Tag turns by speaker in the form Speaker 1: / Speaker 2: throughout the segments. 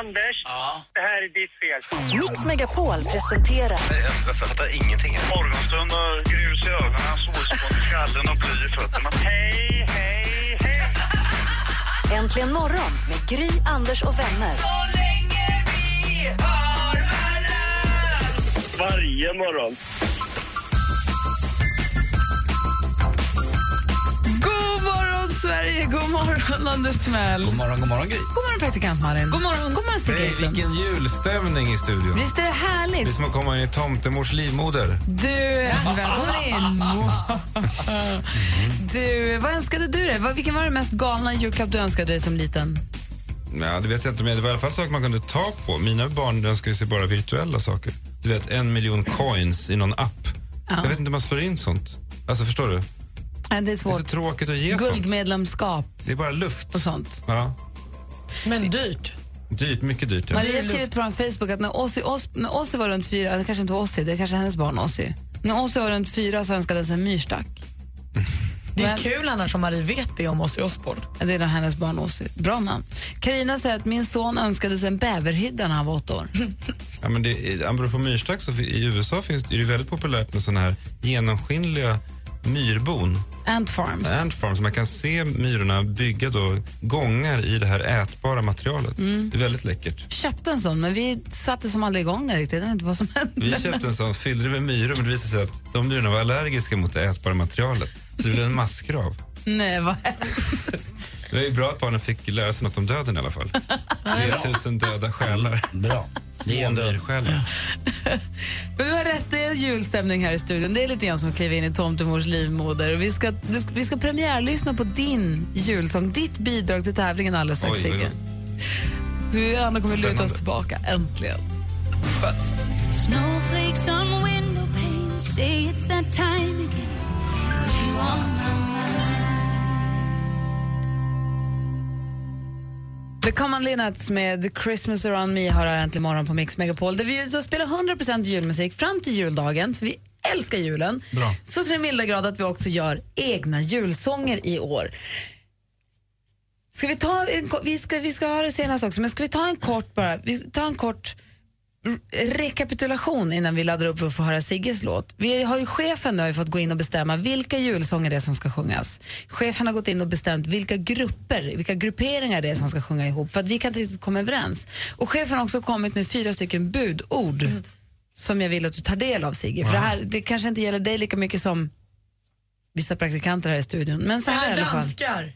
Speaker 1: Anders, det här är ditt fel.
Speaker 2: Mix Megapol presenterar
Speaker 3: Jag fattar ingenting. här.
Speaker 1: Morgonstund och grus i ögonen, solspån i skallen och bly i fötterna. Hej, hej, hej!
Speaker 2: Äntligen morgon med Gry, Anders och vänner.
Speaker 1: Varje morgon.
Speaker 4: God morgon, Sverige! God morgon, Anders Timell! God
Speaker 5: morgon, god morgon Gry.
Speaker 4: morgon, praktikant Malin! God morgon, god morgon Sigge
Speaker 5: Hey,
Speaker 4: Eklund!
Speaker 5: vilken julstämning i studion.
Speaker 4: Visst är det
Speaker 5: Det är
Speaker 4: härligt?
Speaker 5: som att komma in i tomtemors livmoder.
Speaker 4: Du, välkommen Mm. in! Du, vad önskade du dig? Vad- Vilken var den mest galna julklapp du önskade dig som liten?
Speaker 5: Ja, det vet jag inte, men det var i alla fall saker man kunde ta på. Mina barn önskar ju sig bara virtuella saker. Du vet, en miljon coins i någon app. Jag vet inte hur man slår in sånt. Alltså, förstår du?
Speaker 4: Nej, Det är
Speaker 5: Det är så
Speaker 4: svårt.
Speaker 5: tråkigt att ge sånt.
Speaker 4: Guldmedlemskap
Speaker 5: Det är bara luft.
Speaker 4: och sånt.
Speaker 5: Ja,
Speaker 6: Men dyrt.
Speaker 5: dyrt, mycket dyrt. Ja.
Speaker 4: Maria har skrivit på vår Facebook att när Ozzy, Os- när Ozzy var runt fyra, det kanske inte var Ozzy, det är kanske hennes barn Ozzy. När Ozzy var runt fyra så önskade han sig en myrstack.
Speaker 6: Det är
Speaker 4: Men-
Speaker 6: kul annars om Marie vet det om Ozzy Osbourne.
Speaker 4: Ja, Det är nog hennes barn Ozzy. Bra namn. Carina säger att min son önskade sig en bäverhydda när han var åtta år.
Speaker 5: Ja, men det, är- apropå myrstack, så fi- i USA finns, är det väldigt populärt med såna här genomskinliga myrbon.
Speaker 4: Ant Farms.
Speaker 5: Ant farm, så man kan se myrorna bygga då gångar i det här ätbara materialet.
Speaker 6: Mm.
Speaker 5: Det är väldigt läckert.
Speaker 4: köpte en sån, men vi satte som aldrig igång den riktigt. Jag vet inte vad som hände.
Speaker 5: Vi köpte en sån, fyllde det med myror, men det visade sig att de myrorna var allergiska mot det ätbara materialet. Så det blev en massgrav.
Speaker 4: Nej, vad
Speaker 5: Det var ju bra att barnen fick lära sig något om döden i alla fall. 3000 döda själar.
Speaker 7: Bra. Det är
Speaker 5: Små
Speaker 7: ändå...
Speaker 5: myrsjälar.
Speaker 4: Men du har rätt, det är julstämning här i studion. Det är lite grann som att kliva in i tomtemors livmoder. Och Vi ska, du, ska- vi ska premiärlyssna på din julsång, ditt bidrag till tävlingen alldeles strax,
Speaker 5: Oj, oj, oj.
Speaker 4: Sigge. Du, Anna kommer luta oss
Speaker 5: Spännande.
Speaker 4: tillbaka, äntligen.
Speaker 8: Snowflakes on window panes say it's that time again. You are my mind.
Speaker 4: The Common Linnets med Christmas around me har här äntligen morgon på Mix Megapol där vi ju så spelar 100% julmusik fram till juldagen för vi älskar julen.
Speaker 5: Bra.
Speaker 4: Så till den milda grad att vi också gör egna julsånger i år. Ska vi ta en, ko- vi, ska, vi ska ha det senast också, men ska vi ta en kort bara, vi tar en kort r- rekapitulation innan vi laddar upp för att få höra Sigges låt. Vi har ju chefen nu har ju fått gå in och bestämma vilka julsånger det är som ska sjungas. Chefen har gått in och bestämt vilka grupper, vilka grupperingar det är som ska sjunga ihop för att vi kan inte riktigt komma överens. Och chefen har också kommit med fyra stycken budord som jag vill att du tar del av Sigge. För det här det kanske inte gäller dig lika mycket som vissa praktikanter här i studion. Men så här i
Speaker 6: Eller
Speaker 4: alla fall.
Speaker 6: danskar.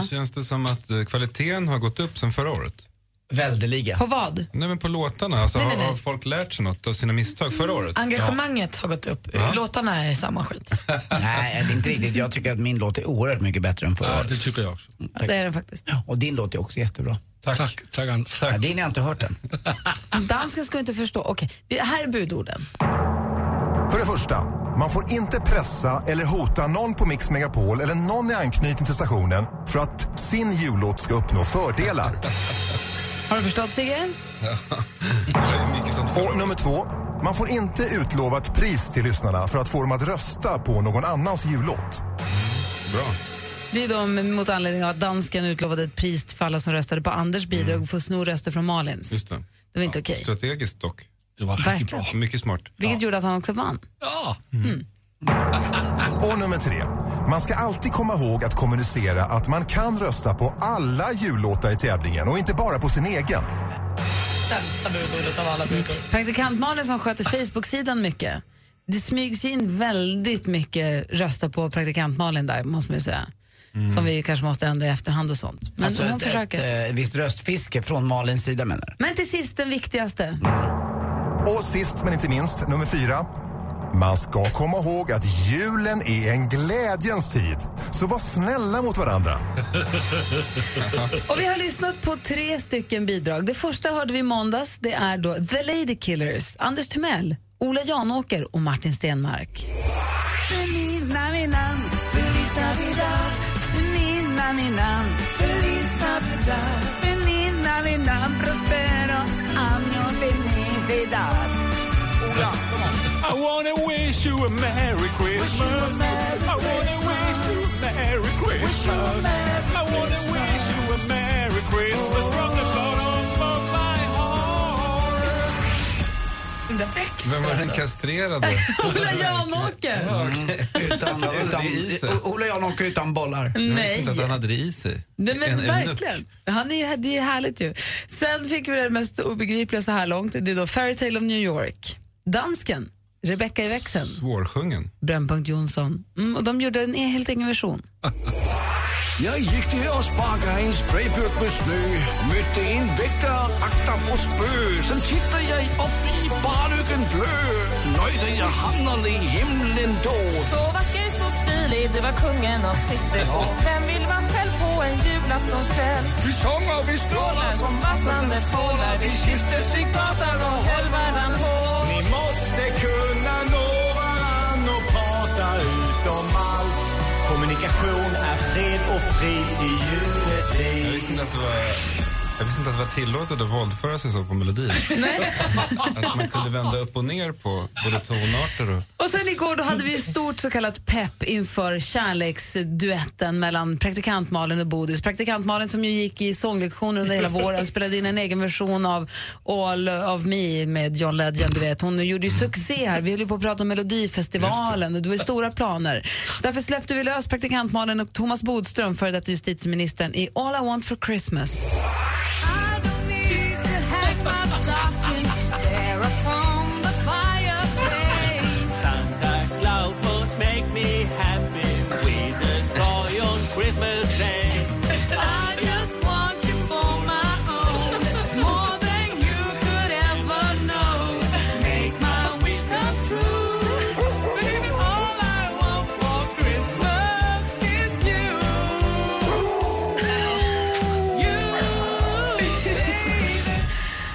Speaker 5: Nu känns det som att eh, kvaliteten har gått upp sen förra året.
Speaker 7: Väldeliga.
Speaker 4: På vad?
Speaker 5: Nej, men på låtarna. Alltså,
Speaker 6: Nej, nej,
Speaker 5: har,
Speaker 6: nej.
Speaker 5: har folk lärt sig något av sina misstag förra året?
Speaker 6: Engagemanget har gått upp. Låtarna är samma skit.
Speaker 7: Nej, det är inte riktigt. Jag tycker att min låt är oerhört mycket bättre än förra
Speaker 5: Ja,
Speaker 7: året.
Speaker 5: tycker jag också.
Speaker 4: Ja, det är den faktiskt.
Speaker 7: Och din låt är också jättebra.
Speaker 5: Tack. Tack, tack Anders.
Speaker 7: Ja, din har jag inte hört än.
Speaker 4: Dansken ska inte förstå. Okej, vi- här är budorden.
Speaker 3: För det första, man får inte pressa eller hota någon på Mix Megapol eller någon i anknytning till stationen för att sin jullåt ska uppnå fördelar.
Speaker 4: Har du förstått Sigge?
Speaker 5: Mycket sånt förra
Speaker 3: Och
Speaker 5: året.
Speaker 3: nummer två, man får inte utlova ett pris till lyssnarna för att få dem att rösta på någon annans jullåt.
Speaker 5: Bra.
Speaker 4: Det är då mot anledning av att dansken utlovade ett pris för alla som röstade på Anders bidrag och får sno röster från Malins.
Speaker 5: Just det.
Speaker 4: Det var inte okej.
Speaker 5: Strategiskt dock.
Speaker 7: Det var
Speaker 4: riktigt bra.
Speaker 5: Mycket smart.
Speaker 4: Vilket gjorde att han också vann.
Speaker 3: Och nummer tre, man ska alltid komma ihåg att kommunicera att man kan rösta på alla jullåtar i tävlingen och inte bara på sin egen.
Speaker 6: Sämsta budordet av alla budord.
Speaker 4: Praktikant Malin som sköter Facebook-sidan mycket. Det smygs ju in väldigt mycket rösta på praktikant Malin där, måste man ju säga. Som vi kanske måste ändra i efterhand och sånt. Men
Speaker 7: Mm. Alltså,
Speaker 4: hon
Speaker 7: ett,
Speaker 4: försöker.
Speaker 7: ett eh, visst röstfiske från Malins sida menar du?
Speaker 4: Men till sist den viktigaste.
Speaker 3: Och sist men inte minst, nummer fyra. Man ska komma ihåg att julen är en glädjens tid. Så var snälla mot varandra.
Speaker 4: Och vi har lyssnat på tre stycken bidrag. Det första hörde vi i måndags. Det är då The Lady Killers, Anders Timell Ola Janåker och Martin Stenmark.
Speaker 9: I wanna wish you a Merry Christmas. I wanna wish you a Merry Christmas. I wanna wish you a Merry Christmas from the bottom of my heart.
Speaker 10: Mm,
Speaker 5: Vem var
Speaker 4: Alltså.
Speaker 5: den kastrerade?
Speaker 4: Ola Janåker!
Speaker 7: Utan, utan,
Speaker 5: Det är i sig.
Speaker 7: O- Ola Janåker utan bollar.
Speaker 5: Jag visste
Speaker 4: Nej.
Speaker 5: inte att han hade det i sig.
Speaker 4: Nej, men
Speaker 5: En eunuck.
Speaker 4: verkligen. Han är, det är härligt ju. Sen fick vi det mest obegripliga så här långt. Det är då Fairytale of New York. Dansken, Rebecca i växeln,
Speaker 5: Svårsjungen.
Speaker 4: Brännpunkt Jonsson. Mm, och de gjorde en helt egen version.
Speaker 11: Jeg gik der og sparker en sprayburk med snø. Mødte en vægter, agter på spø. Så titter jeg op i barlykken blø. Nøjde jeg hamner i himlen då.
Speaker 10: Så vacker, så stilig, du var kungen av city och Vem vill man själv på en julaftonskväll?
Speaker 11: Vi sjunger, vi skåler som vattnet strålar. Vi kysser sig gatan och håller varann på. Ni måste kunna nå varann och prata utom allt. Kommunikation är fred och frid i juletid.
Speaker 5: Jag visste inte att det var... Jag visste inte att det var tillåtet att våldföra sig så på melodin. Att man kunde vända upp och ner på både tonarter och...
Speaker 4: Och sen igår då hade vi ett stort så kallat pepp inför kärleksduetten mellan praktikant Malin och Bodis. Praktikant Malin som ju gick i sånglektioner under hela våren spelade in en egen version av All of me med John Legend. Du vet. Hon gjorde ju succé här. Vi höll ju på att prata om Melodifestivalen och det var ju stora planer. Därför släppte vi lös praktikant Malin och Thomas Bodström, före detta justitieministern, i All I want for Christmas.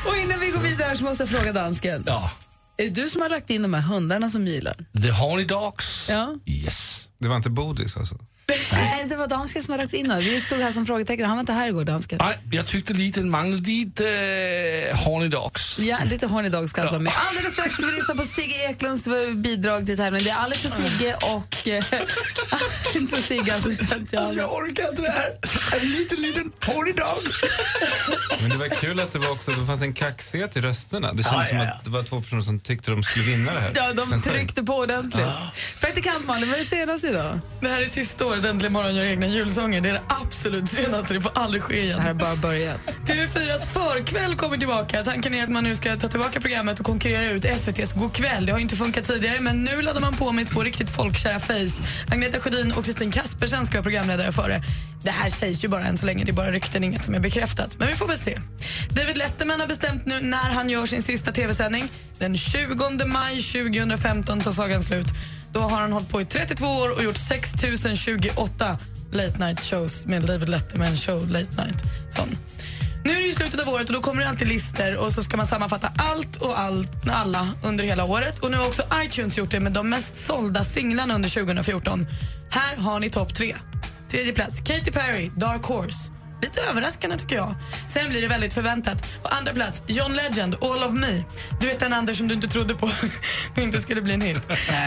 Speaker 4: Och innan vi går vidare så måste jag fråga dansken.
Speaker 12: Ja.
Speaker 4: Är det du som har lagt in de här hundarna som mylar?
Speaker 12: The Horny Dogs.
Speaker 4: Ja.
Speaker 12: Yes.
Speaker 5: Det var inte Bodis alltså?
Speaker 4: Nej, Eh, det var dansken som har lagt in det. Vi stod här som frågetecken. Han var inte här igår, dansken.
Speaker 12: Nej, jag tyckte lite den manglade lite eh, Horny Dogs.
Speaker 4: Ja, lite horny dog ska allt vara med. Alldeles strax ska vi lyssna på Sigge Eklunds bidrag till tävlingen. Det är Alex och Sigge och... eh, Alex och Sigge, assistent
Speaker 12: Alltså, jag orkar inte det här. En liten, liten Horny Dogs.
Speaker 5: Men det var kul att det, var också, det fanns en kaxighet i rösterna. Det kändes
Speaker 12: Ja,
Speaker 5: som
Speaker 12: ja,
Speaker 5: att det var två personer som tyckte de skulle vinna det här.
Speaker 4: Ja, de
Speaker 5: Sen-
Speaker 4: tryckte på ordentligt.
Speaker 5: Ja.
Speaker 4: Praktikant Malin, vad är det senaste idag?
Speaker 6: Det här är sista året Äntligen morgon gör egna julsånger. Det är det absolut senaste. Det får aldrig ske igen. Det
Speaker 4: här har bara börjat.
Speaker 6: TV4s förkväll kommer tillbaka. Tanken är att man nu ska ta tillbaka programmet och konkurrera ut SVTs Go'kväll. Det har ju inte funkat tidigare, men nu laddar man på med två riktigt folkkära face. Agneta Sjödin och Kristin Kaspersen ska vara programledare för det. Det här sägs ju bara än så länge. Det är bara rykten, inget som är bekräftat. Men vi får väl se. David Letterman har bestämt nu när han gör sin sista TV-sändning. Den 20 maj 2015 tar sagan slut. Då har han hållit på i 32 år och gjort 6028 late night shows med David Letterman show late night. Sån. Nu är det ju slutet av året och då kommer det alltid listor och så ska man sammanfatta allt och allt, alla under hela året. Och nu har också iTunes gjort det med de mest sålda singlarna under 2014. Här har ni topp tre. Tredje plats, Katy Perry, Dark Horse. Lite överraskande tycker jag. Sen blir det väldigt förväntat. På andra plats, John Legend, All of me. Du vet den andra som du inte trodde på inte skulle bli en hit.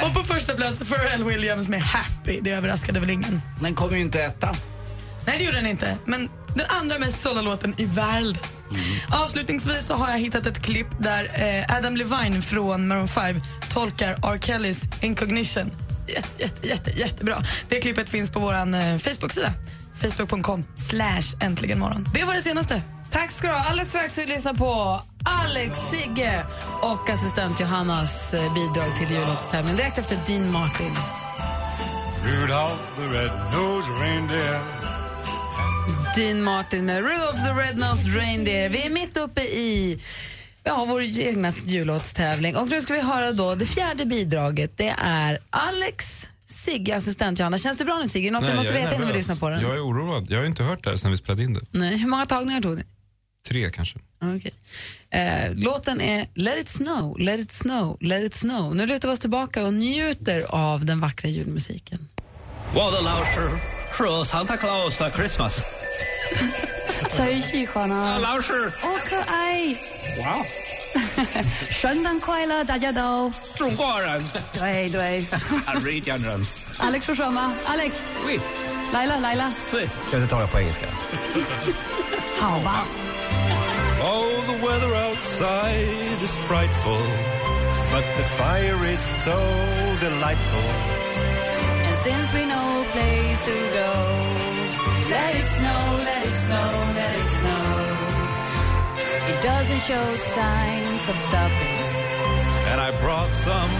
Speaker 6: Och på första plats, Pharrell Williams med Happy. Det överraskade väl ingen.
Speaker 7: Den kommer ju inte etta.
Speaker 6: Nej, det gjorde den inte. Men den andra mest sålda låten i världen. Avslutningsvis så har jag hittat ett klipp där eh, Adam Levine från Maroon 5 tolkar R. Kellys Incognition. Jätte, jätte, jätte, jättebra. Det klippet finns på vår eh, Facebook-sida. Facebook.com slash äntligen morgon. Det var det senaste.
Speaker 4: Tack ska du ha. Alldeles strax ska vi lyssna på Alex, Sigge och assistent Johannas eh, bidrag till jullåtstävlingen direkt efter Dean Martin.
Speaker 9: Rudolph the red-nosed reindeer.
Speaker 4: Dean Martin med Rudolph the Red-Nosed Reindeer. Vi är mitt uppe i ja, vår egna jullåtstävling. Och nu ska vi höra då det fjärde bidraget. Det är Alex, Sigge, assistent Johanna. Känns det bra nu Sigge? Något vi
Speaker 5: Nej,
Speaker 4: måste
Speaker 5: jag är
Speaker 4: veta innan vi
Speaker 5: nervös.
Speaker 4: lyssnar på den?
Speaker 5: Jag är oroad. Jag har ju inte hört det här sen vi spelade in det.
Speaker 4: Nej, hur många tagningar tog ni?
Speaker 5: tre kanske.
Speaker 4: Okej. Eh, låten är Let it snow, let it snow, let it snow. Nu lutar vi oss tillbaka och njuter av den vackra julmusiken.
Speaker 13: 我的老师是 Santa Claus 的 Christmas。
Speaker 14: 最喜欢啊！
Speaker 13: 老师，
Speaker 14: 好可爱！
Speaker 13: 哇，
Speaker 14: 圣诞快乐，大家都！
Speaker 13: 中国人，
Speaker 14: 对对
Speaker 13: 瑞典人，
Speaker 14: ，Alex 说什么？Alex，
Speaker 13: 喂，
Speaker 14: 来了来了，
Speaker 13: 对，现在到了欢迎。
Speaker 14: 好吧。
Speaker 11: Oh, the weather outside is frightful, but the fire is so delightful.
Speaker 2: And since we know a place to go Let it snow, let it snow, let it snow It doesn't show signs of stopping
Speaker 11: And I brought some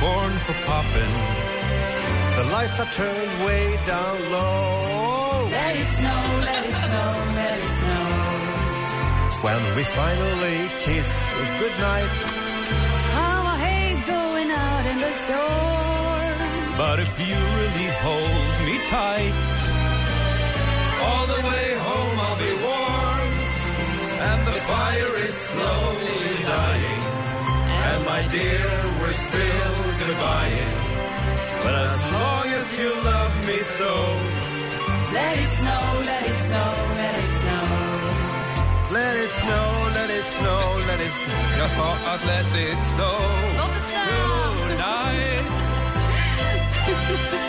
Speaker 11: corn for popping. The lights are turned way down low.
Speaker 2: Let it snow, let it snow, let it snow
Speaker 11: When we finally kiss goodnight.
Speaker 2: How I hate going out in the storm
Speaker 11: But if you really hold me tight, all the way home I'll be warm. And the fire is slowly dying. And my dear, we're still goodbying. But as long as you love me so,
Speaker 2: Let it snow, let it snow, let it snow
Speaker 11: let it snow, let it snow, let it snow. Jag sa att let it snow.
Speaker 2: Låt det snöa!
Speaker 11: Tonight.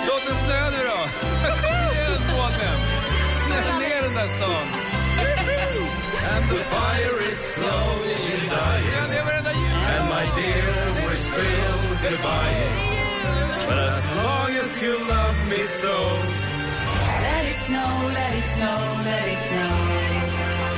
Speaker 11: Låt det snö nu då! Kom igen båten! Snö ner den där stan! And the fire is slowly dying And my dear, we're still goodbye But as long as you love me so
Speaker 2: Let it snow, let it snow, let it snow.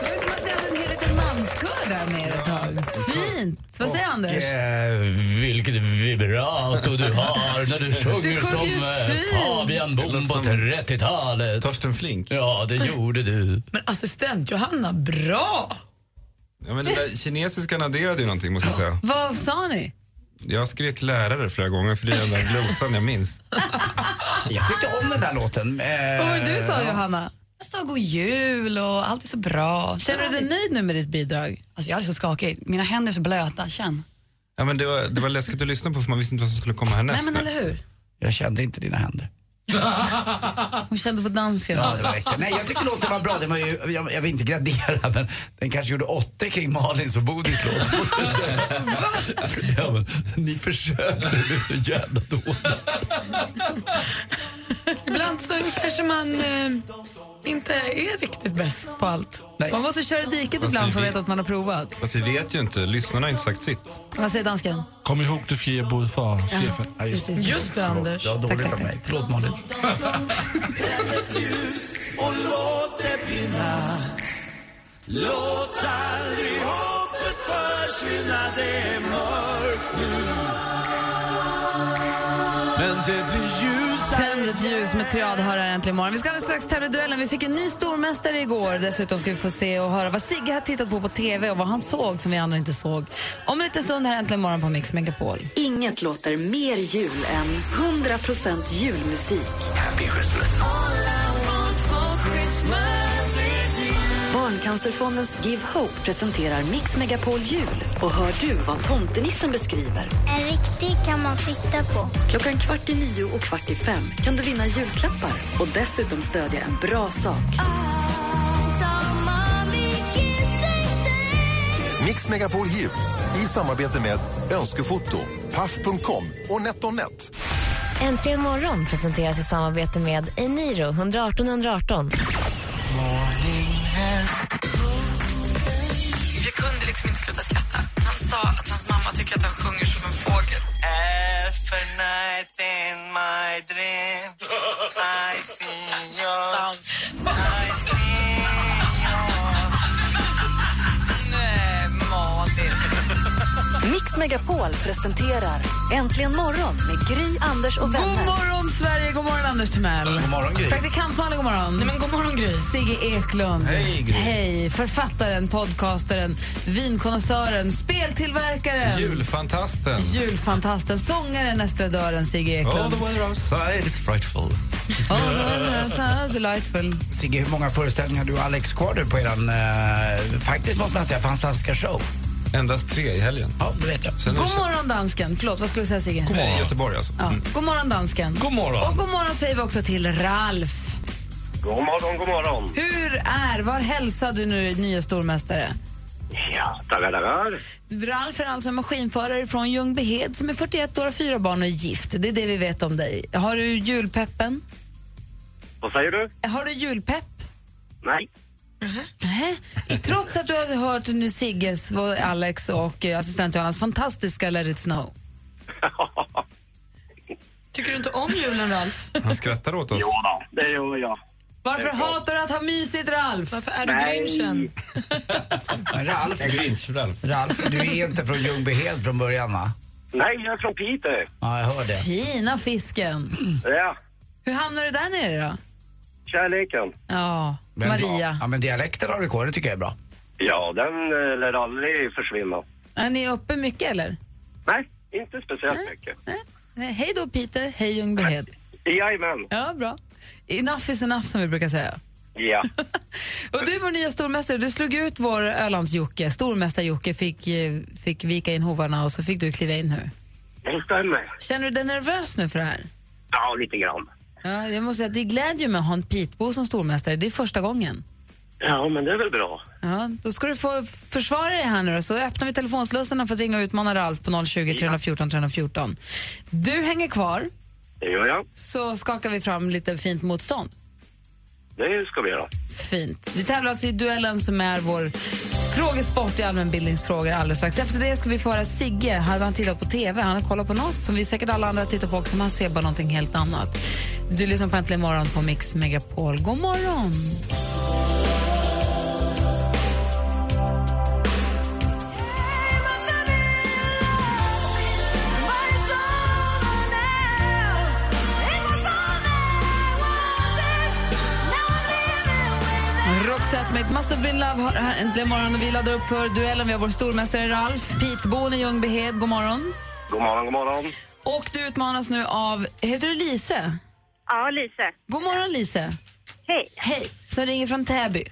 Speaker 4: Det var som att ni hade en hel liten manskör där med er ett tag. Fint! Vad säger Anders?
Speaker 6: Eh, vilket vibrato du har när du sjunger
Speaker 4: Du
Speaker 6: som
Speaker 4: sjunger
Speaker 6: eh,
Speaker 4: fint.
Speaker 6: Fabian Bohm på 30-talet. Torsten Flink. Ja, det gjorde du.
Speaker 15: Men assistent Johanna, bra!
Speaker 5: Ja, men den där kinesiskan adderade ju någonting måste jag säga.
Speaker 4: Vad sa ni?
Speaker 5: Jag skrek lärare flera gånger för det är den där glosan jag minns.
Speaker 6: Jag tyckte om den där låten. eh.
Speaker 4: Vad var det du sa Johanna?
Speaker 16: Jag sa god jul och allt är så bra.
Speaker 4: Känner du dig nöjd nu med ditt bidrag?
Speaker 16: Alltså jag är så skakig. Mina händer är så blöta. Känn.
Speaker 5: Ja, men det, var, det var läskigt att lyssna på för man visste inte vad som skulle komma härnäst.
Speaker 16: Nej men eller hur?
Speaker 6: Jag kände inte dina händer.
Speaker 4: Hon kände på dansken.
Speaker 6: Ja, det var äkta. Nej, jag tycker låten var bra. Det var ju, jag, jag vill inte gradera, men den kanske gjorde åtta kring Malins och Bodils låt. måste jag säga. ja, men, ni försökte, det blev så jävla dåligt.
Speaker 15: Ibland så kanske man eh, inte är riktigt bäst på allt.
Speaker 4: Man måste köra i diket
Speaker 5: Vad
Speaker 4: ibland för att
Speaker 5: skulle vi-
Speaker 4: veta att man har provat.
Speaker 5: Fast vi vet ju inte, lyssnarna har inte sagt sitt.
Speaker 4: Vad säger dansken?
Speaker 17: Kom ihåg det fjärde bud för chefen.
Speaker 6: Ja,
Speaker 15: just det. Just det, Anders.
Speaker 6: Ja, dåligt av mig. Förlåt, Malin.
Speaker 18: Och låt det brinna Låt aldrig hoppet försvinna Det är mörkt nu Men det blir ljus
Speaker 4: Tänd ett ljus med triad hör här äntligen imorgon. Vi ska alldeles strax tävla i duellen. Vi fick en ny stormästare igår. Dessutom ska vi få se och höra vad Sigge har tittat på på TV och vad han såg som vi andra inte såg. Om en liten stund här äntligen imorgon på Mix Megapol.
Speaker 2: Inget låter mer jul än 100% julmusik.
Speaker 18: Happy Christmas
Speaker 2: Barncancerfondens Give Hope presenterar Mix Megapol Jul. Och hör du vad tomtenissen beskriver?
Speaker 19: En riktig kan man sitta på.
Speaker 2: Klockan kvart i nio och kvart i fem kan du vinna julklappar och dessutom stödja en bra sak.
Speaker 20: Mix Megapol Jul i samarbete med Önskefoto, Paff.com och NetOnNet.
Speaker 21: Äntligen morgon presenteras i samarbete med Eniro 118 118.
Speaker 15: Jag kunde liksom inte sluta skratta. Han sa att hans mamma tycker att han sjunger som en fågel.
Speaker 18: Every night in my dream I see your I see your
Speaker 4: Nej, Malin.
Speaker 2: Mix Megapol presenterar Äntligen morgon med Gry, Anders och vänner.
Speaker 6: God morgon, Sverige! God morgon, Anders Timell.
Speaker 2: God morgon, Gry.
Speaker 6: Praktikant Malin, god morgon.
Speaker 22: Nej, men god morgon, Gry.
Speaker 6: Sigge Eklund.
Speaker 2: Hej, Gry.
Speaker 6: Hej. Författaren, podcastaren, vinkonnässören, speltillverkaren.
Speaker 5: Julfantasten.
Speaker 6: Julfantasten, sångaren, estradören Sigge
Speaker 5: All
Speaker 6: Eklund.
Speaker 5: the weather outside is frightful.
Speaker 6: Oh, the weather outside, delightful.
Speaker 23: Sigge, hur många föreställningar har du och Alex kvar nu på eran, eh, faktiskt måste man säga, fantastiska show?
Speaker 5: Endast tre i helgen.
Speaker 23: Ja, det vet jag.
Speaker 5: Sen är det
Speaker 6: God morgon, dansken. Förlåt, vad skulle du säga, Sigge?
Speaker 5: God morgon. I Göteborg alltså.
Speaker 6: Ja.
Speaker 5: Mm.
Speaker 6: God morgon, dansken.
Speaker 5: God morgon.
Speaker 6: Och god morgon säger vi också till Ralf.
Speaker 24: God morgon, god morgon.
Speaker 6: Hur är, var hälsar du nu, nya stormästare?
Speaker 24: Ja, tackar, tackar.
Speaker 6: Ralf är alltså en maskinförare från Ljungbyhed som är 41 år och fyra barn och är gift. Det är det vi vet om dig. Har du julpeppen?
Speaker 24: Vad säger du?
Speaker 6: Har du julpepp?
Speaker 24: Nej.
Speaker 6: Nej. Trots att du har hört nu Sigges, och Alex och eh, assistent Johannas fantastiska Let it snow.
Speaker 22: Tycker du inte om julen, Ralf?
Speaker 5: Han skrattar åt oss.
Speaker 24: Jo då, det gör jag.
Speaker 6: Varför hatar du att ha mysigt, Ralf? Varför
Speaker 22: är du Nej. grinchen?
Speaker 23: Men Ralf,
Speaker 24: Det är
Speaker 23: Ralf, du är inte från Ljungbyhed från början va?
Speaker 24: Nej, jag är från Piteå.
Speaker 23: Ja, jag hör det.
Speaker 6: Fina fisken.
Speaker 24: Ja,
Speaker 6: Hur hamnar du där nere då?
Speaker 24: kärleken.
Speaker 6: Ja,
Speaker 23: Men-
Speaker 6: Maria.
Speaker 23: Ja, men dialekten har du kvar, det tycker jag är bra.
Speaker 24: Ja, den eh, lär aldrig försvinna.
Speaker 6: Är ni uppe mycket eller?
Speaker 24: Nej, inte speciellt mycket.
Speaker 6: Nej, Hej då Peter, hej Ljungbyhed.
Speaker 24: Jajamän.
Speaker 6: Ja, bra. Enough is enough som vi brukar säga.
Speaker 24: Ja.
Speaker 6: Och du är vår nya stormästare. Du slog ut vår Ölands-Jocke. Stormästar-Jocke fick, eh, fick vika in hovarna och så fick du kliva in här.
Speaker 24: Det stämmer.
Speaker 6: Känner du dig nervös nu för det här?
Speaker 24: Ja, lite grann.
Speaker 6: Ja, jag måste säga att det glädjer ju mig att ha en Pitbo som stormästare. Det är första gången.
Speaker 24: Ja, men det är väl bra.
Speaker 6: Ja, då ska du få försvara dig här nu då, så öppnar vi telefonslussarna för att ringa och utmana Ralf på 020 314 314. Du hänger kvar,
Speaker 24: Det gör jag.
Speaker 6: så skakar vi fram lite fint motstånd.
Speaker 24: Det ska vi göra.
Speaker 6: Fint. Vi tävlar alltså i duellen som är vår frågesport i allmänbildningsfrågor alldeles strax. Efter det ska vi få höra Sigge. Han han tittar på TV. Han har kollat på något som vi säkert alla andra tittar på också, men han ser bara någonting helt annat. Du lyssnar på Äntligen morgon på Mix Megapol. God morgon! Roxette med It Must Have Been Love har här äntligen morgon och vi laddar upp för duellen. Vi har vår stormästare Ralf, Pitbon i Ljungbyhed. God morgon.
Speaker 24: God morgon, god morgon.
Speaker 6: Och du utmanas nu av, heter du Lise?
Speaker 25: Ja, Lise.
Speaker 6: God morgon Lise.
Speaker 25: Hej.
Speaker 6: Hej. Som ringer från Täby.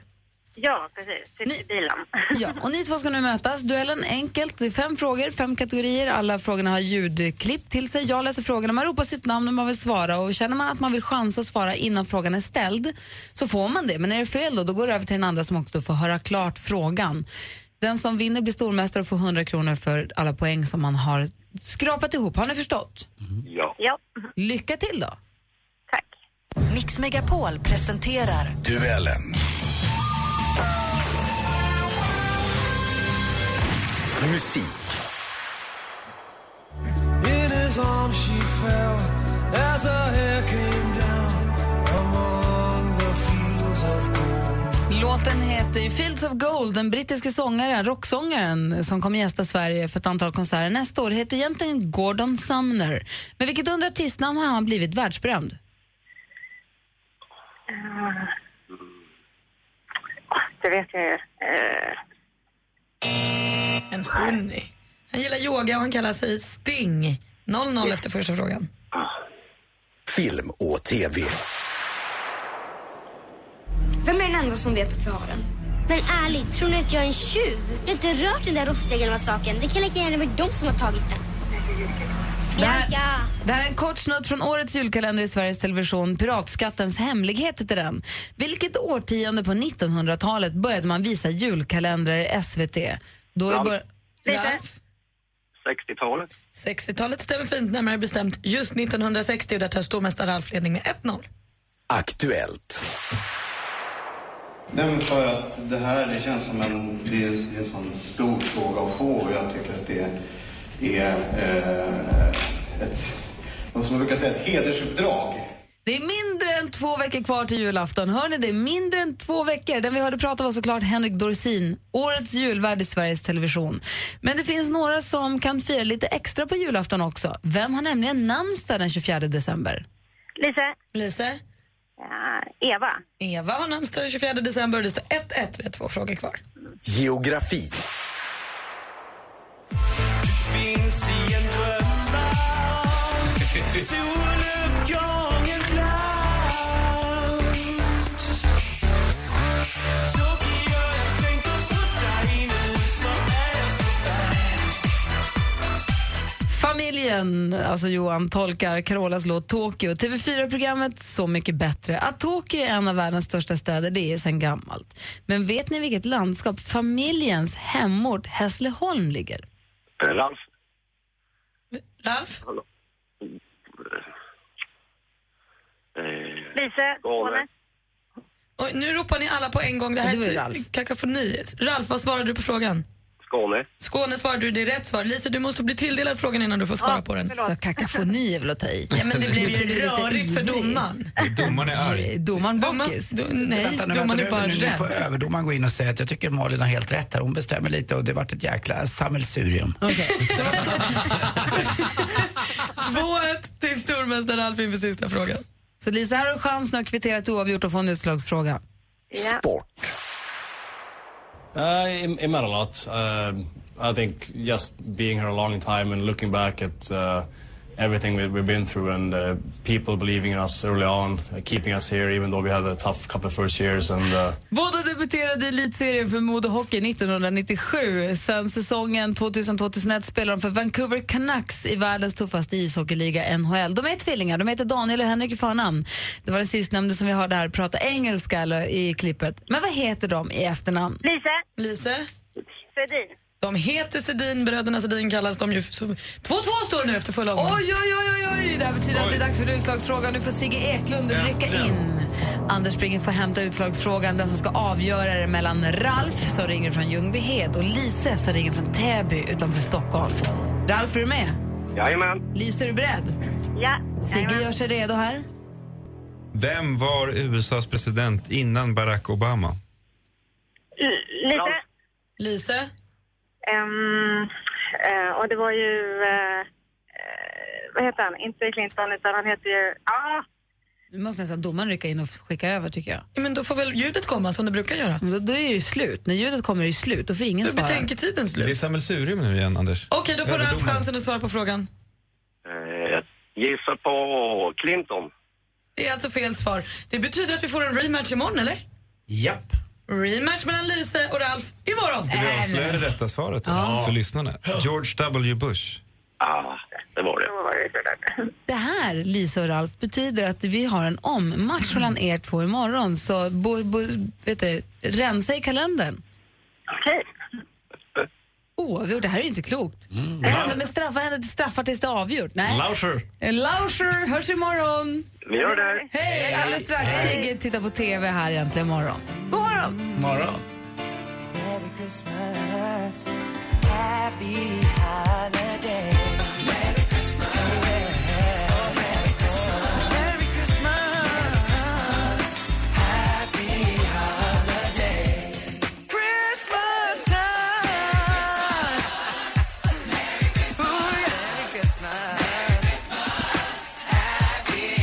Speaker 25: Ja, precis. Sitter i bilen.
Speaker 6: Ja, och ni två ska nu mötas. Duellen enkelt. Det är fem frågor, fem kategorier. Alla frågorna har ljudklipp till sig. Jag läser frågorna, man ropar sitt namn när man vill svara och känner man att man vill chansa att svara innan frågan är ställd så får man det. Men är det fel då, då går det över till den andra som också får höra klart frågan. Den som vinner blir stormästare och får 100 kronor för alla poäng som man har skrapat ihop. Har ni förstått?
Speaker 24: Ja.
Speaker 25: ja.
Speaker 6: Lycka till då!
Speaker 2: Mix Megapol presenterar
Speaker 26: Duellen. Musik.
Speaker 27: In his arms she fell as her hair came down among the fields of gold.
Speaker 6: Låten heter ju Fields of Gold. Den brittiske sångaren, rocksångaren som kommer gästa Sverige för ett antal konserter nästa år heter egentligen Gordon Sumner. Men vilket under artistnamn har han blivit världsberömd?
Speaker 25: Eh, Det vet jag ju. Eh,
Speaker 22: En honey. Han gillar yoga och han kallar sig Sting. 0-0 efter första frågan.
Speaker 26: Film och TV.
Speaker 28: Vem är den enda som vet att vi har den?
Speaker 4: Men ärligt, tror ni att jag är en tjuv? Jag har inte rört den där rostdegarna med saken. Det kan lika gärna vara de som har tagit den.
Speaker 6: Det här, det här är en kort snutt från årets julkalender i Sveriges Television. Piratskattens hemlighet heter den. Vilket årtionde på 1900-talet började man visa julkalendrar i SVT? Då är
Speaker 24: Ralf.
Speaker 6: bör- Ralf?
Speaker 24: 60-talet.
Speaker 22: 60-talet stämmer fint, närmare bestämt just 1960 och där tar stormästare Ralf ledning med 1-0.
Speaker 26: Aktuellt.
Speaker 11: Nej, men för att det här det känns som en, det är en sån stor fråga att få och jag tycker att det är eh, ett, vad som man brukar säga, ett hedersuppdrag.
Speaker 6: Det är mindre än två veckor kvar till julafton. Hör ni det? Mindre än två veckor. Den vi hörde prata var såklart Henrik Dorsin, årets julvärd i Sveriges Television. Men det finns några som kan fira lite extra på julafton också. Vem har nämligen namnsdag den 24 december?
Speaker 2: Lise?
Speaker 4: Lise?
Speaker 2: Eva.
Speaker 4: Eva har namnsdag den 24 december och det står 1-1. Vi har två frågor kvar.
Speaker 29: Geografi.
Speaker 30: Finns i en drömvärld Soluppgångens land Tokyo, jag tänker på dig nu Snart är jag
Speaker 6: Familjen, alltså Johan, tolkar Carolas låt Tokyo. TV4-programmet Så mycket bättre. Att Tokyo är en av världens största städer, det är sedan gammalt. Men vet ni vilket landskap familjens hemort Hässleholm ligger?
Speaker 24: Eh, Ralf?
Speaker 4: Ralf?
Speaker 24: eh,
Speaker 2: Lise? Skåne?
Speaker 4: Oj, nu ropar ni alla på en gång. Det här är ett kakafoni. Ralf, vad svarade du på frågan?
Speaker 24: Skåne?
Speaker 4: Skåne svarade du, det är rätt svar. Lise, du måste bli tilldelad frågan innan du får svara på den.
Speaker 6: Så kakafoni är väl att ta i.
Speaker 4: Ja, men det blev ju rörigt för domaren.
Speaker 5: Domaren är arg.
Speaker 6: Domaren
Speaker 4: Bokis? Nej,
Speaker 31: Vänta nu,
Speaker 4: domaren
Speaker 31: vänta
Speaker 4: är
Speaker 31: nu,
Speaker 4: bara
Speaker 31: nu, nu får
Speaker 4: rädd.
Speaker 31: överdomaren gå in och säga att jag tycker Malin har helt rätt här. Hon bestämmer lite och det vart ett jäkla sammelsurium.
Speaker 4: Två ett till stormästare Ralf inför sista frågan.
Speaker 6: Så Lisa, här har du chans nu att kvittera ett oavgjort och få en utslagsfråga.
Speaker 29: Sport.
Speaker 11: Uh, it, it meant a lot. Uh, I think just being here a long time and looking back at uh, everything we, we've been through and uh, people believing in us early on, uh, keeping us here, even though we had a tough couple of first years. And uh,
Speaker 6: Båda debuterade i elitserien för Modo Hockey 1997. Sen säsongen 2000-2001 spelade de för Vancouver Canucks i världens tuffaste ishockeyliga NHL. De är tvillingar, de heter Daniel och Henrik i förnamn. Det var den sistnämnde som vi hörde här prata engelska eller, i klippet. Men vad heter de i efternamn?
Speaker 2: Lise?
Speaker 4: Lise?
Speaker 2: Sedin?
Speaker 4: De heter Sedin, bröderna Sedin kallas de ju. Så- 2-2 står det nu efter full omgång.
Speaker 6: Oj, oj, oj, oj, oj! Det här betyder att det är dags för utslagsfrågan. Nu får Sigge Eklund rycka in. Anders Springen får hämta utslagsfrågan, den som ska avgöra det mellan Ralf som ringer från Ljungbyhed och Lise som ringer från Täby utanför Stockholm. Ralf, är du med?
Speaker 24: Jajamän.
Speaker 6: Lise, är du beredd?
Speaker 2: Ja.
Speaker 6: Sigge gör sig redo här.
Speaker 5: Vem var USAs president innan Barack Obama?
Speaker 2: Lise?
Speaker 4: Lise?
Speaker 2: Ehm, eh, och det var ju... eh, eh, vad heter han? Inte Clinton, utan han heter ju... Ah,
Speaker 6: Nu måste nästan domaren rycka in och skicka över tycker jag.
Speaker 4: Men då får väl ljudet komma som det brukar göra.
Speaker 6: Men då, då är det ju slut. När ljudet kommer är det ju slut. Då får ingen
Speaker 4: Nu
Speaker 6: svara.
Speaker 4: betänker tiden slut.
Speaker 5: Det är sammelsurium nu igen, Anders.
Speaker 4: Okej, då får Ralf
Speaker 5: Överdomaren.
Speaker 4: chansen att svara på frågan.
Speaker 24: Eh, gissa på Clinton.
Speaker 4: Det är alltså fel svar. Det betyder att vi får en rematch imorgon, eller?
Speaker 31: Japp.
Speaker 4: Rematch mellan Lise och Ralf imorgon.
Speaker 5: Ska vi avslöja det rätta svaret då,
Speaker 4: Ja.
Speaker 5: för lyssnarna? George W. Bush.
Speaker 24: Ah, det var det.
Speaker 6: Det här, Lisa och Ralf, betyder att vi har en ommatch mellan er två imorgon. Så bo, bo, vet du, rensa i kalendern.
Speaker 2: Okej.
Speaker 6: Oavgjort, det här är ju inte klokt. Vad händer med straffar? Händer det straffar tills det är avgjort? Nej.
Speaker 11: Lauscher.
Speaker 6: En Lauscher, hörs imorgon!
Speaker 24: Vi gör det.
Speaker 6: Hej! Alldeles strax. Sigge tittar på TV här egentligen imorgon. God morgon!
Speaker 31: Morgon.
Speaker 30: Merry Christmas. Happy holiday. Merry Christmas. Merry Christmas. Merry Christmas. Happy holiday. Christmas time. Ooh, yeah. Merry Christmas. Happy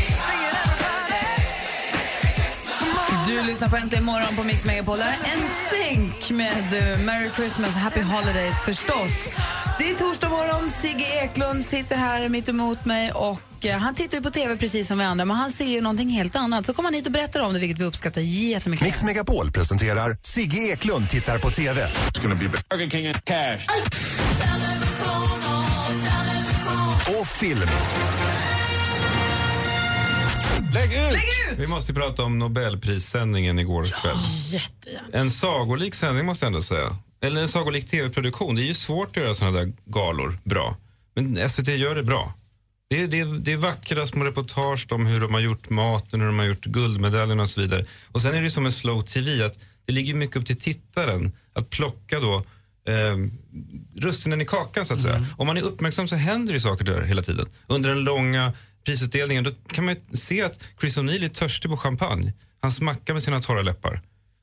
Speaker 6: Du lyssnar på Äntligen morgon på Mix Megapol. Det här är en synk med eh, Merry Christmas och Happy Holidays förstås. Det är torsdag morgon. Sigge Eklund sitter här mitt emot mig och eh, han tittar ju på TV precis som vi andra men han ser ju någonting helt annat. Så kommer han hit och berättar om det vilket vi uppskattar jättemycket.
Speaker 26: Mix Megapol presenterar Sigge Eklund tittar på TV.
Speaker 32: Burger King and cash.
Speaker 26: Och film.
Speaker 32: Lägg ut!
Speaker 5: Vi måste ju prata om Nobelprissändningen igår kväll. En sagolik sändning måste jag ändå säga. Eller en sagolik tv-produktion. Det är ju svårt att göra såna där galor bra. Men SVT gör det bra. Det är, det, är, det är vackra små reportage om hur de har gjort maten, hur de har gjort guldmedaljerna och så vidare. Och sen är det ju som en slow tv, att det ligger mycket upp till tittaren att plocka då eh, russinen i kakan så att säga. Om man är uppmärksam så händer det ju saker där hela tiden. Under den långa prisutdelningen, då kan man ju se att Chris O'Neill är törstig på champagne. Han smackar med sina torra läppar.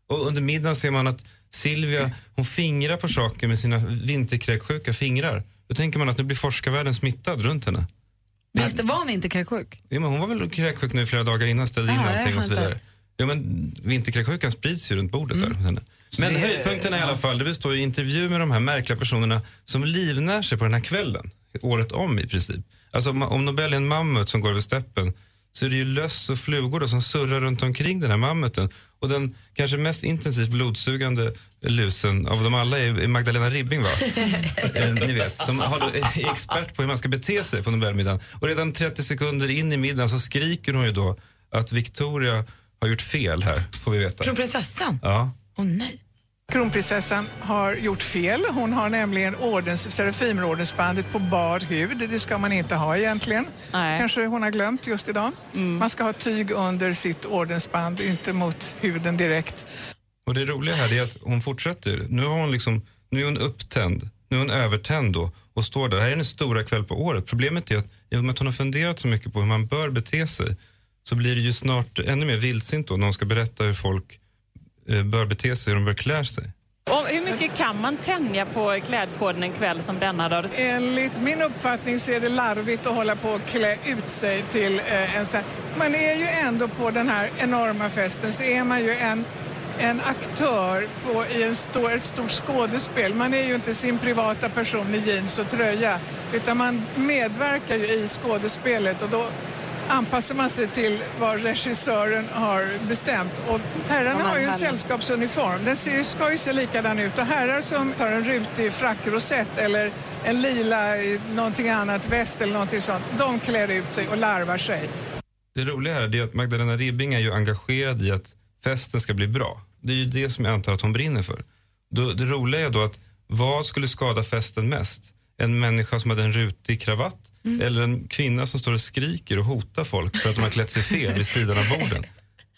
Speaker 5: Och under middagen ser man att Silvia, hon fingrar på saker med sina vinterkräksjuka fingrar. Då tänker man att nu blir forskarvärlden smittad runt henne.
Speaker 6: Visst var hon inte kräksjuk?
Speaker 5: Ja, men hon var väl kräksjuk nu i flera dagar innan, ställde in
Speaker 6: Ja, jag
Speaker 5: allting och så
Speaker 6: fattar.
Speaker 5: vidare. Ja, men vinterkräksjukan sprids ju runt bordet där. hos henne.
Speaker 33: Mm. Så
Speaker 5: Men
Speaker 33: det-
Speaker 5: höjdpunkterna i alla fall, det består ju intervju med de här märkliga personerna som livnär sig på den här kvällen, året om i princip. Alltså om- om Nobel är en mammut som går över steppen så är det ju löss och flugor då, som surrar runt omkring den här mammuten. Och den kanske mest intensivt blodsugande lusen av dem alla är är Magdalena Ribbing va? Eh, ni vet, som har då, är expert på hur man ska bete sig på Nobelmiddagen. Och redan 30 sekunder in i middagen så skriker hon ju då att Victoria har gjort fel här, får vi veta.
Speaker 4: Från prinsessan?
Speaker 5: Ja.
Speaker 4: Åh nej. Kronprinsessan har gjort fel. Hon har nämligen ordens, serafimordensbandet på bar hud. Det ska man inte ha egentligen.
Speaker 34: Nej.
Speaker 4: Kanske hon har glömt just idag. Man ska ha tyg under sitt ordensband, inte mot huden direkt.
Speaker 5: Och det roliga här är att hon fortsätter. Nu, har hon liksom, nu är hon upptänd, nu är hon övertänd då och står där. Det här är den stora kväll på året. Problemet är att i och med att hon har funderat så mycket på hur man bör bete sig så blir det ju snart ännu mer vildsint då när hon ska berätta hur folk eh, bör bete sig, hur de bör klä sig.
Speaker 35: Och hur mycket kan man tänja på klädkoden en kväll som denna? Då?
Speaker 4: Enligt min uppfattning så är det larvigt att hålla på och klä ut sig till eh, en sån här... Man är ju ändå på den här enorma festen så är man ju en, en aktör på, i en stor, ett stort skådespel. Man är ju inte sin privata person i jeans och tröja utan man medverkar ju i skådespelet och då anpassar man sig till vad regissören har bestämt. Och herrarna har ju en sällskapsuniform. Den ser ju, ska ju se likadan ut. Och herrar som tar en rutig frackrosett eller en lila eh, någonting annat, väst eller någonting sånt, de klär ut sig och larvar sig.
Speaker 5: Det roliga här är att Magdalena Ribbing är ju engagerad i att festen ska bli bra. Det är ju det som jag antar att hon brinner för. Då, det roliga är då att vad skulle skada festen mest? En människa som hade en rutig kravatt
Speaker 36: Mm.
Speaker 5: eller en kvinna som står och skriker och hotar folk för att de har klätt sig fel vid sidan av borden?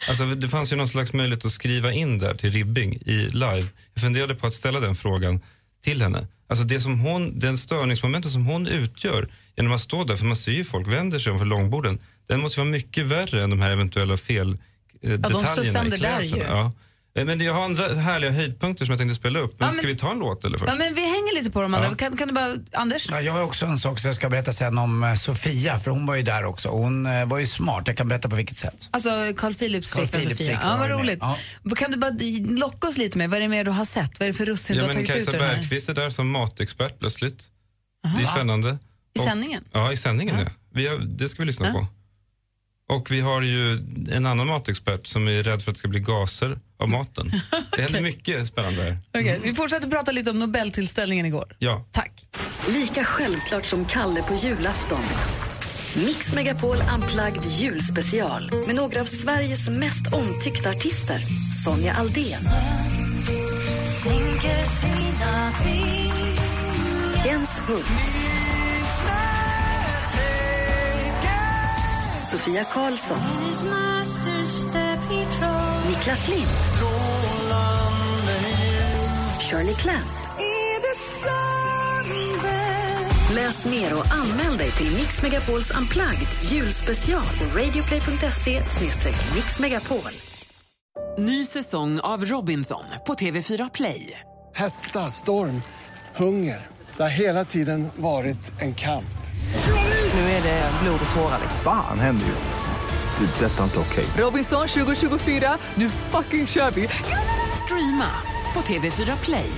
Speaker 5: Alltså, det fanns ju någon slags möjlighet att skriva in där till Ribbing i live. Jag funderade på att ställa den frågan till henne. Alltså det som hon, den störningsmomentet som hon utgör genom att stå där, för man ser ju folk vänder sig om för långborden, den måste vara mycket värre än de här eventuella fel eh,
Speaker 6: de slår
Speaker 5: detaljerna
Speaker 6: sönder
Speaker 5: i
Speaker 6: där
Speaker 5: kläderna.
Speaker 6: ju.
Speaker 5: Ja. Eh, Men jag har andra härliga höjdpunkter som jag tänkte spela upp. Men
Speaker 6: Ja, men-
Speaker 5: ska vi ta en låt eller först?
Speaker 6: Ja, men vi hänger lite på dem andra.
Speaker 33: Ja.
Speaker 6: Kan, kan du bara, Anders?
Speaker 33: Ja, jag har också en sak som jag ska berätta sen om eh, Sofia, för hon var ju där också. Hon eh, var ju smart, jag kan berätta på vilket sätt.
Speaker 6: Alltså Carl Philips
Speaker 33: Carl
Speaker 6: flickvän
Speaker 33: Philips
Speaker 6: Sofia.
Speaker 33: flickvän
Speaker 6: Ja,
Speaker 33: var
Speaker 6: vad
Speaker 33: ju med.
Speaker 6: roligt.
Speaker 33: Ja.
Speaker 6: Kan du bara locka oss lite med? Vad är det mer du har sett? Vad är det för russin du
Speaker 5: Ja, men
Speaker 6: har tagit ut
Speaker 5: Kajsa
Speaker 6: ur den här?
Speaker 5: Bergqvist är där som matexpert plötsligt.
Speaker 6: Aha.
Speaker 5: Det är
Speaker 6: Va?
Speaker 5: spännande.
Speaker 6: I
Speaker 5: Och-
Speaker 6: sändningen?
Speaker 5: Ja, i sändningen ja. Vi har, det ska vi lyssna på. Och vi har ju en annan matexpert som är rädd för att det ska bli gaser av maten. Det händer mycket spännande här.
Speaker 6: Okej, Vi fortsätter prata lite om Nobeltillställningen igår.
Speaker 5: Ja.
Speaker 2: Lika självklart som Kalle på julafton. Mix Megapol Unplugged julspecial med några av Sveriges mest omtyckta artister. Sonja Aldén. Jens Hult. Sofia Karlsson. Niklas Lind. Shirley Clamp. Läs mer och anmäl dig till Mix Megapols Unplugged julspecial på radioplay.se mixmegapol.
Speaker 15: Ny säsong av Robinson på TV4 Play.
Speaker 26: Hetta, storm, hunger. Det har hela tiden varit en kamp.
Speaker 15: Nu är det blod och tårar.
Speaker 37: liksom.
Speaker 38: Fan händer just nu. Det. är Detta är inte okej.
Speaker 15: Robinson 2024, nu fucking kör vi! Streama på TV4 Play.